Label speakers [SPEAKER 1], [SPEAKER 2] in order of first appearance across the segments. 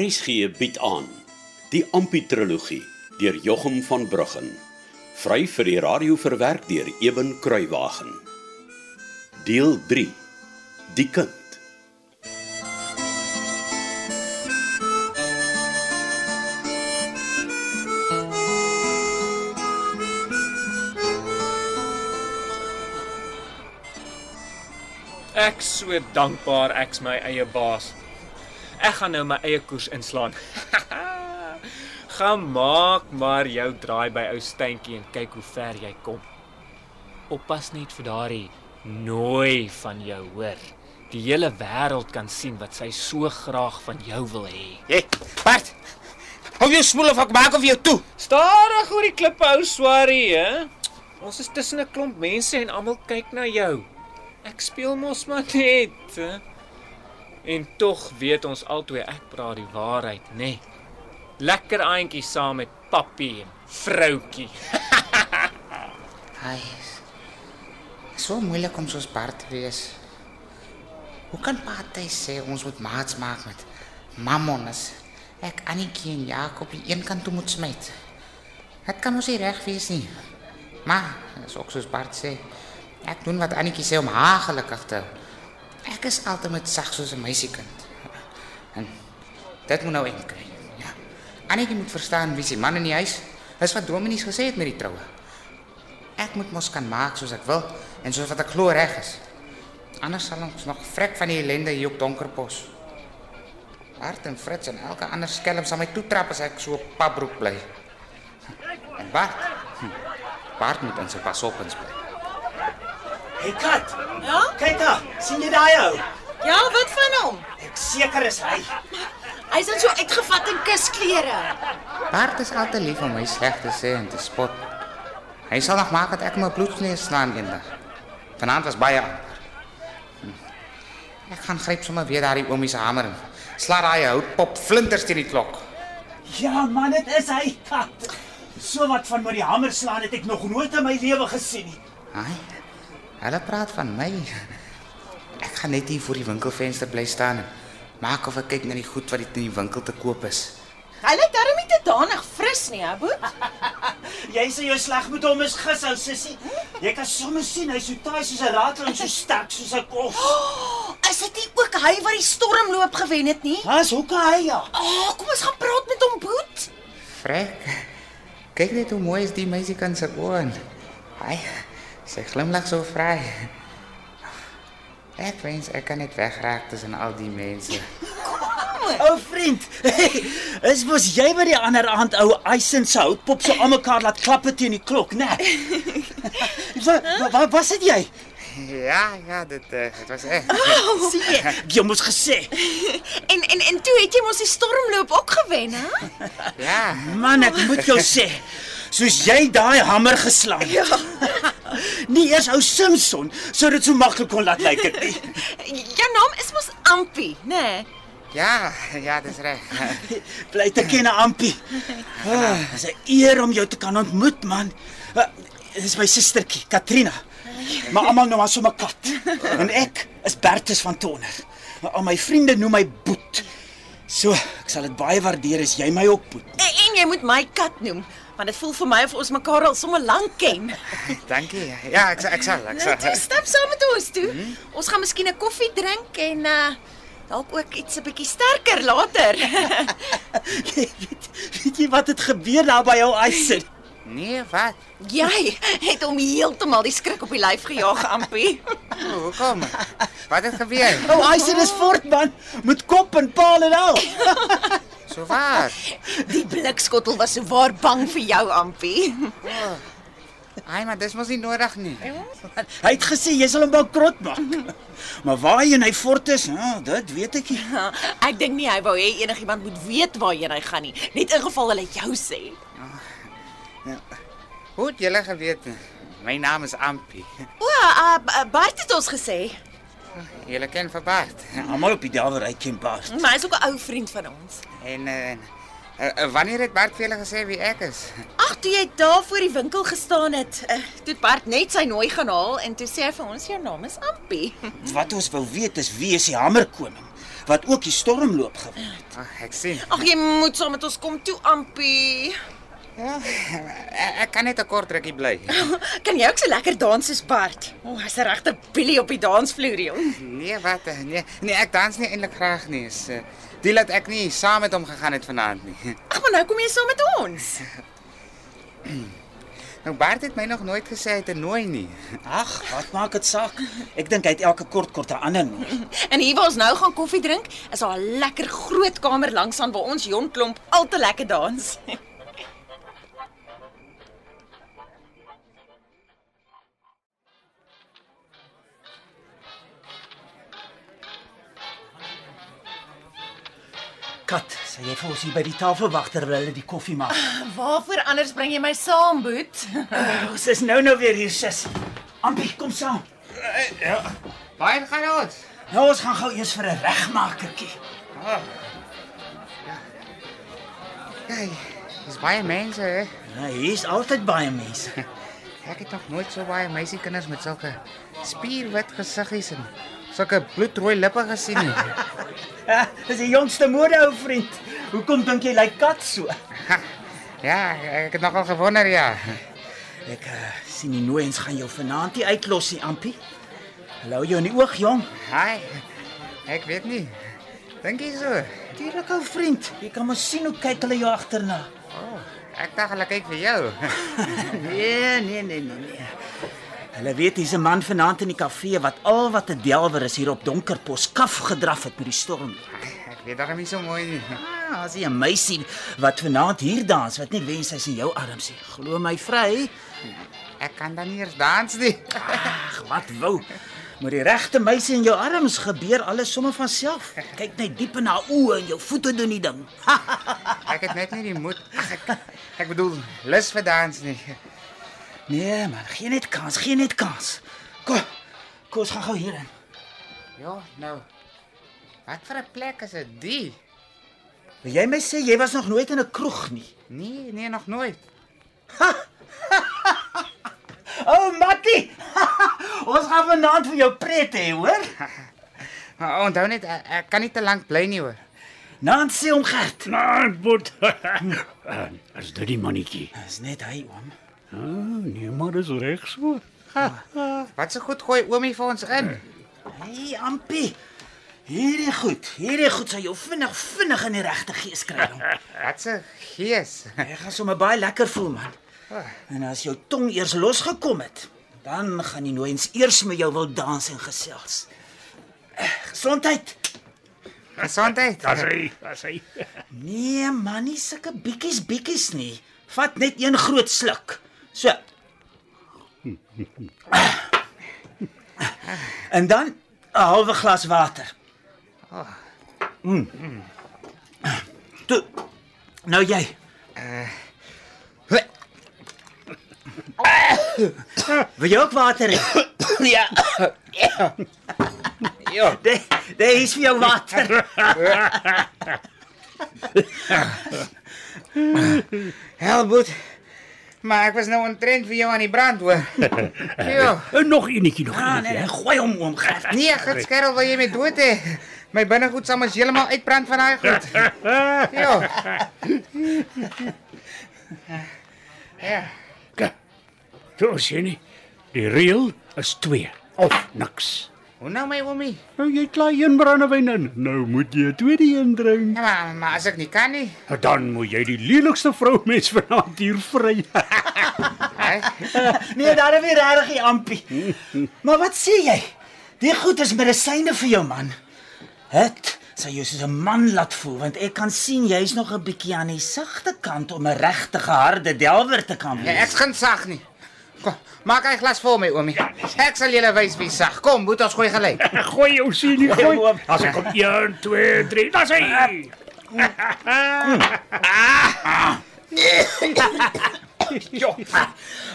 [SPEAKER 1] RSG bied aan die Amputrologie deur Jochum van Bruggen vry vir die radio verwerk deur Eben Kruiwagen deel 3 die kind
[SPEAKER 2] Ek so dankbaar ek's my eie baas. Ek gaan nou my eie koers inslaan. gaan maak maar jou draai by ou steentjie en kyk hoe ver jy kom. Oppas net vir daardie nooi van jou hoor. Die hele wêreld kan sien wat sy so graag van jou wil hê.
[SPEAKER 3] Hé, Bart. Hou jou smoel of ek maak of jou toe.
[SPEAKER 2] Stadig oor die klippe ou swarie, hè? Ons is tussen 'n klomp mense en almal kyk na jou. Ek speel mos maar net. Hè? En tog weet ons albei ek praat die waarheid, nê? Nee. Lekker aantjie saam met pappie en vroutjie.
[SPEAKER 3] Ai. So moeilik om soos Bart te wees. Hoe kan party sê ons moet maats maak met mammonas? Ek Annetjie en Jakob die een kant toe moet smyt. Dit kan ons nie reg wees nie. Maar, dis ook soos Bart sê. Ek doen wat Annetjie sê om haar gelukkig te hou. Ek is altyd met sag soos 'n meisiekind. En dit moet nou enkry. Ja. Annetjie moet verstaan wie se man in die huis is wat Dominie gesê het met die troue. Ek moet mos kan maak soos ek wil en soos wat ek glo reg is. Anders sal ons nog vrek van die ellende hier op Donkerpos. Bart en Fritz en elke ander skelm sal my toetrap as ek so op papbroek bly. En Bart? hm, Bart moet in sy pas op en bly.
[SPEAKER 4] Hey kat,
[SPEAKER 5] Ja?
[SPEAKER 4] kyk daar. sien jy daai ou?
[SPEAKER 5] Ja, wat van hom?
[SPEAKER 4] Ek seker is hy.
[SPEAKER 5] Hy's dan so uitgevat in kusklere.
[SPEAKER 3] Bart is altyd lief om my sleg te sê en te spot. Hy sal nog maak dat ek my bloedsneus slaan eendag. Vanaand was baie amper. Hm. Ek gaan gryp sommer weer daardie oomie se hamer en sla daai houtpop flinters teen die klok.
[SPEAKER 4] Ja man, dit is hy kat. So wat van met die hamer slaan het ek nog nooit in my lewe gesien nie.
[SPEAKER 3] Ai. Hulle praat van my. Ek gaan net hier voor die winkelvenster bly staan en maak of ek kyk na die goed wat in die winkel te koop is.
[SPEAKER 5] Hy lyk darem nie te danig fris nie, hè, Boet?
[SPEAKER 4] Jy sê jou sleg met hom is gishou sussie. Jy kan sommer sien hy's so taai soos 'n ratel en so sterk soos 'n kos.
[SPEAKER 5] Is dit nie ook hy wat die stormloop gewen het nie?
[SPEAKER 4] Haas hoeke hy ja.
[SPEAKER 5] O, oh, kom ons gaan praat met hom, Boet.
[SPEAKER 3] Frek. Kyk net hoe mooi is die meisie kan se oë. Ai. Sy glimlag so vry. Ek wens ek kan net wegraak tussen al die mense.
[SPEAKER 4] Ou vriend, is mos jy wat die ander aand ou Eisen se houtpop so aan mekaar laat klap het teen die klok, né? Nee? Wat wat was dit jy?
[SPEAKER 3] Ja, ja, dit eh, dit was ek.
[SPEAKER 4] Sien jy, ek jou moes gesê.
[SPEAKER 5] En en en toe het jy mos die stormloop ook gewen, hè?
[SPEAKER 3] Ja.
[SPEAKER 4] Man, ek moet jou sê, soos jy daai hamer geslaan het. Ja. nie eers ou Simpson sou dit so maklik kon laat lyk het nie.
[SPEAKER 5] Jou naam is mos Ampie, né? Nee?
[SPEAKER 3] Ja, ja, dis reg.
[SPEAKER 4] Bly te ken, Ampie. Ah, Dis 'n eer om jou te kan ontmoet, man. Ah, Dis my sustertjie, Katrina. Maar almal noem haar sommer Kat. En ek is Bertus van Tonner. Al my vriende noem my Boet. So, ek sal dit baie waardeer as jy my opboet.
[SPEAKER 5] En, en jy moet my kat noem, want dit voel vir my of ons mekaar al sommer lank ken.
[SPEAKER 3] Dankie. Ja, ek sal- ek sal, ek
[SPEAKER 5] Nou, toe,
[SPEAKER 3] sal. Hmm?
[SPEAKER 5] stap saam met ons toe. Ons gaan miskien 'n koffie drink en uh dalk ook iets 'n bietjie sterker later.
[SPEAKER 4] weet, weet jy wat het gebeur daar by jou Eisen?
[SPEAKER 3] Nee, wat?
[SPEAKER 5] Jy het hom heeltemal die skrik op die lyf gejaag, Ampie.
[SPEAKER 3] Hoe kom? Wat het gebeur?
[SPEAKER 4] Ou Eisen is fort man, met kop en paal en al.
[SPEAKER 3] So waar.
[SPEAKER 5] Die blikskottel was so waar bang vir jou, Ampie.
[SPEAKER 3] Ai, maar dis mos nie nodig nie.
[SPEAKER 4] Hy het gesê jy sal hom bankrot maak. Maar waarheen hy fort is, nou, dit weet ek nie.
[SPEAKER 5] Ja, Ek dink nie hy wou hê enigiemand moet weet waarheen hy gaan nie, net in geval hulle jou sê.
[SPEAKER 3] Hoe het julle geweet? My naam is Ampie.
[SPEAKER 5] O, uh, B- Bart het ons gesê,
[SPEAKER 3] Julle ken vir Bart.
[SPEAKER 4] Ja, Almal op die dawery ken Bart.
[SPEAKER 5] maar hy's ook 'n ou vriend van ons.
[SPEAKER 3] En eh, en eh, eh, wanneer het Bart vir julle gesê wie ek is?
[SPEAKER 5] Ag, toe jy daar voor die winkel gestaan het, uh, toe het Bart net sy nooi gaan haal en toe sê hy vir ons jou naam is Ampie.
[SPEAKER 4] Wat ons wil weet is wie is die hamerkoning? wat ook die storm loop gewen.
[SPEAKER 3] Ah, ek sien.
[SPEAKER 5] Ag jy moet saam met ons kom toe, Ampie.
[SPEAKER 3] Ja, ek, ek kan net 'n kort rukkie bly.
[SPEAKER 5] Kan jy ook so lekker dans soos Bart? O, oh, hy's 'n regte billie op die dansvloer, jong.
[SPEAKER 3] Nee, wat? Nee, nee, ek dans nie eintlik graag nie. Is eh, die laat ek nie saam met hom gegaan het vanaand nie.
[SPEAKER 5] Ag, maar nou kom jy saam met ons.
[SPEAKER 3] Nou Bart het my nog nooit gesê hy het 'n nooi nie.
[SPEAKER 4] Ag, wat maak dit saak? Ek dink hy het elke kort kort 'n ander nooi.
[SPEAKER 5] En hier waar ons nou gaan koffie drink, is daar 'n lekker groot kamer langs aan waar ons Jon Klomp al te lekker dans.
[SPEAKER 4] Kat, sê jy vir ons hier by die tafel wag terwyl hulle die koffie maak.
[SPEAKER 5] Waarvoor anders bring jy my saam, Boet?
[SPEAKER 4] Ons is nou nou weer hier, sis. Ampie, kom saam.
[SPEAKER 3] Baie gaan ons.
[SPEAKER 4] Nou ons gaan gou eers vir 'n regmakertjie.
[SPEAKER 3] Hey, dis baie mense. He.
[SPEAKER 4] Nou, hier's altyd baie mense.
[SPEAKER 3] Ek het nog nooit so baie meisiekinders met sulke spierwit gesiggies en sulke bloedrooi lippe gesien nie.
[SPEAKER 4] Ja, dis die jongste mode ou vriend. Hoekom dink jy lyk like kat so?
[SPEAKER 3] Ha, ja, ek het nogal gewonder ja.
[SPEAKER 4] Ek uh, sien die nooiens gaan jou vanaand nie uitlos nie, Ampie. Hallo jou in die oog, jong.
[SPEAKER 3] Hi. Ek weet nie. Dink jy so?
[SPEAKER 4] Dierik ou vriend, jy kan maar sien hoe kyk hulle jou agterna.
[SPEAKER 3] Oh, ek dink hulle kyk vir jou.
[SPEAKER 4] nee, nee, nee, nee, nee. Hulle weet hier's 'n man vanaand in die kafee wat al wat 'n delwer is hier op Donkerpos kaf gedraf het met die storm.
[SPEAKER 3] Ek weet daarom nie so mooi nie.
[SPEAKER 4] Ah, as jy 'n meisie wat vanaand hier dans wat net wens hy's in jou arms nie. Glo my vry.
[SPEAKER 3] Ek kan dan nie eens dans nie.
[SPEAKER 4] Ag, wat wou. Met die regte meisie in jou arms gebeur alles sommer van self. Kyk net diep in haar oë en jou voete doen die ding.
[SPEAKER 3] Ek het net nie die moed. Ag, Ek, ek bedoel, lus vir dans nie.
[SPEAKER 4] Nee, man, gee net kans, gee net kans. Kom. Kom ons gaan gou hierin.
[SPEAKER 3] Ja, nou. Wat vir 'n plek is dit die?
[SPEAKER 4] Wil jy my sê jy was nog nooit in 'n kroeg nie?
[SPEAKER 3] Nee, nee, nog nooit.
[SPEAKER 4] O, oh, Matty. ons gaan vanaand vir jou pret hê, hoor?
[SPEAKER 3] Maar onthou net ek, ek kan nie te lank bly nie hoor.
[SPEAKER 4] Nancy om Gert.
[SPEAKER 6] Ah, but as dit die mannetjie.
[SPEAKER 4] Dis net hy oom.
[SPEAKER 6] Ah, nee, maar dis reg so.
[SPEAKER 3] Wat se goed gooi oomie vir ons in.
[SPEAKER 4] Hey, Ampie. Hierdie goed, hierdie goed sal jou vinnig vinnig in die regte gees kry. jong.
[SPEAKER 3] Wat se gees.
[SPEAKER 4] Jy gaan sommer baie lekker voel, man. En as jou tong eers losgekom het, dan gaan die nooiens eers met jou wil dans en gesels. Eh, Gesondheid.
[SPEAKER 3] Gesondheid.
[SPEAKER 6] As hy, as hy.
[SPEAKER 4] Nee, man, nie sulke bietjies bietjies nie. Vat net een groot sluk. So. En dan 'n halwe glas water.
[SPEAKER 3] Ah.
[SPEAKER 4] Mm. Toe. Nou jy.
[SPEAKER 3] Eh.
[SPEAKER 4] Wil jy ook water hê?
[SPEAKER 3] Ja. Ja.
[SPEAKER 4] Daar daar is vir jou water.
[SPEAKER 3] Helboet. Maar ek was nou ontrent vir jou aan die brand hoor. Ja.
[SPEAKER 6] En nog enetjie nog.
[SPEAKER 4] Ah, nee, nee, gooi hom oom Gert.
[SPEAKER 3] Nee, gits kerel, wil jy my dood hê? My binnegoed sal mos heeltemal uitbrand van daai goed. Ja. Ja.
[SPEAKER 6] Toe sien jy. Die reël is 2 of niks.
[SPEAKER 3] Hoe nou my oomie?
[SPEAKER 6] Nou jy klaai een brandewyn in. Nou moet jy 'n tweede een drink.
[SPEAKER 3] Ja, maar, maar as ek nie kan nie.
[SPEAKER 6] Nou, Dan moet jy die lelikste vroumens vanaand hier vry.
[SPEAKER 3] Hy.
[SPEAKER 4] Nee, daar is weer regtig die ampie. Maar wat sê jy? Die goed is medisyne vir jou man. Dit sal jou soos 'n man laat voel want ek kan sien jy's nog 'n bietjie aan die sagte kant om 'n regte harde delwer te kan
[SPEAKER 3] Ja,
[SPEAKER 4] wees.
[SPEAKER 3] ek's geen sag nie. Kom, maak hy glas vol my oomie. Ek sal julle wys wie sag. Kom, moet ons gooi gelyk.
[SPEAKER 6] Gooi jou sien nie,
[SPEAKER 4] Gooi hom.
[SPEAKER 6] gooi. As ek kom 1 2 3. Daar's hy.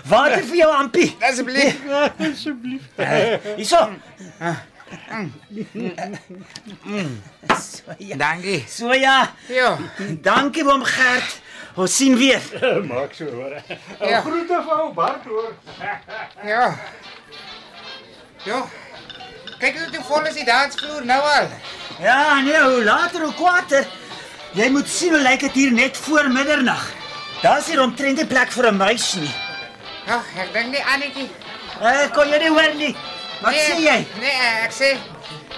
[SPEAKER 4] Water vir jou ampie.
[SPEAKER 3] Asseblief.
[SPEAKER 6] Asseblief.
[SPEAKER 4] Hierso.
[SPEAKER 3] Dankie.
[SPEAKER 4] So ja,
[SPEAKER 3] Ja.
[SPEAKER 4] dankie oom Gert. Ons sien weer.
[SPEAKER 6] Maak so hoor.
[SPEAKER 3] Ja.
[SPEAKER 6] Groete vir ou Bart hoor.
[SPEAKER 3] Ja. Ja. Kyk hoe toe vol is die dansvloer nou al.
[SPEAKER 4] Ja, nee, hoe later hoe kwaader. Jy moet sien hoe lyk dit hier net voor middernag. Daar's hier omtrent nie plek vir 'n muis nie.
[SPEAKER 3] Ag, ek dink nie Annetjie.
[SPEAKER 4] Eh, kon jy nie hoor nie? Wat sê jy?
[SPEAKER 3] Nee, ek sê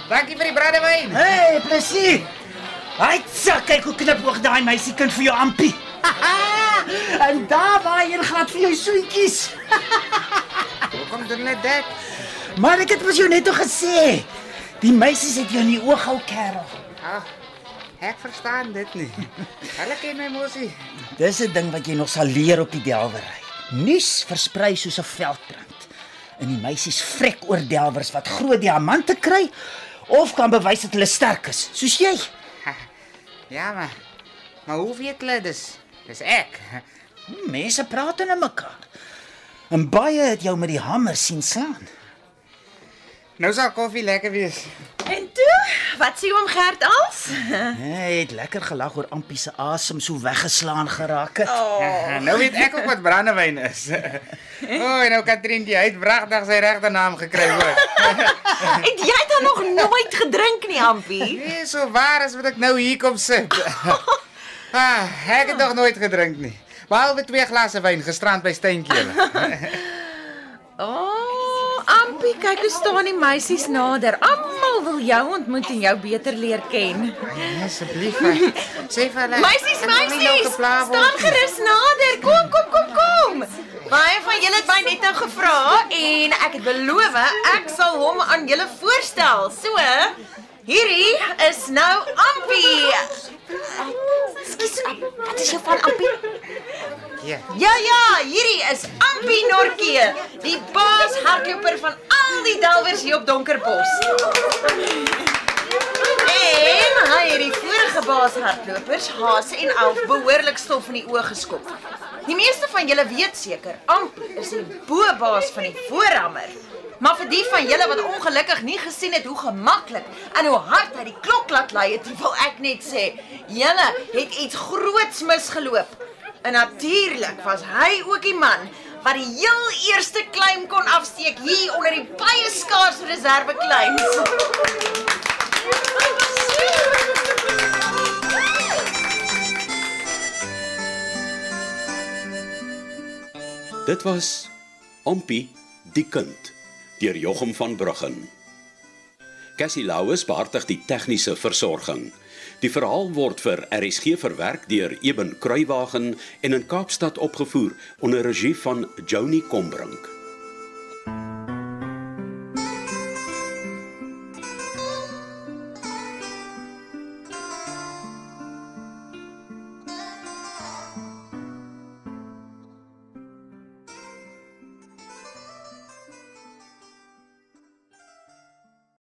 [SPEAKER 3] dankie vir die brandewyn.
[SPEAKER 4] Hey, plesier. Hy sak kyk hoe knip oog daai meisiekind vir jou ampie. en daar waar jy gaan vir jou soentjies.
[SPEAKER 3] Hoekom doen hulle dit?
[SPEAKER 4] Maar ek het mos jou net al gesê. Die meisies het jou in die oog hou, kerel.
[SPEAKER 3] Ag, ek verstaan dit nie. Hulle ken my mosie.
[SPEAKER 4] Dis 'n ding wat jy nog sal leer op die delwery. Nuus versprei soos 'n veldbrand. En die meisies vrek oor delwers wat groot diamante kry of kan bewys dat hulle sterk is, soos jy.
[SPEAKER 3] Ja, maar maar hoe weet hulle dis? Dis ek.
[SPEAKER 4] Hm, Mense praat aan mekaar. En baie het jou met die hamer sien slaan.
[SPEAKER 3] Nou sal koffie lekker wees.
[SPEAKER 5] En toe, wat sê oom Gert als?
[SPEAKER 4] Hy het lekker gelag oor Ampie se asem so weggeslaan geraak het.
[SPEAKER 3] Oh. Nou weet ek ook wat brandewyn is. O, oh, en nou Katrien, jy het pragtig sy regte naam gekry hoor.
[SPEAKER 5] Het jy dan nog nooit gedrink nie, Ampie?
[SPEAKER 3] Nee, so waar is wat ek nou hier kom sit. Ah, ek het nog nooit gedrink nie. Behalwe twee glase wyn gisterand by Steentjie.
[SPEAKER 5] O, oh, Ampie, kyk hoe staan die meisies nader. Almal wil jou ontmoet en jou beter leer ken.
[SPEAKER 3] Nee, Asseblief. hè. Sê vir hulle.
[SPEAKER 5] Meisies,
[SPEAKER 3] ek wil nie nou
[SPEAKER 5] meisies,
[SPEAKER 3] gepla word
[SPEAKER 5] staan
[SPEAKER 3] nie.
[SPEAKER 5] gerus nader. Kom, kom, kom, kom. Baie van julle het my net nou gevra en ek het beloof ek sal hom aan julle voorstel. So, hierdie is nou Ampie. Skus, wat is jou van Ampie?
[SPEAKER 3] Ja.
[SPEAKER 5] Ja ja, hierdie is Ampie Norkie, die baas hardloper van al die delwers hier op Donkerbos. En hy het die vorige baas hardlopers, Haas en Alf behoorlik stof in die oë geskop. Die meeste van julle weet seker, Ampie is die bo-baas van die voorhammer. Maar vir die van julle wat ongelukkig nie gesien het hoe gemaklik en hoe hard hy die klok laat lei het, wil ek net sê, julle het iets groots misgeloop. En natuurlik was hy ook die man wat die heel eerste klaim kon afsteek hier onder die baie skaars reserve klaims.
[SPEAKER 1] Dit was Ompie die kind deur Jochum van Bruggen. Cassie Lauers behartig die tegniese versorging. Die verhaal word vir RSG verwerk deur Eben Kruiwagen en in Kaapstad opgevoer onder regie van Joni Combrink.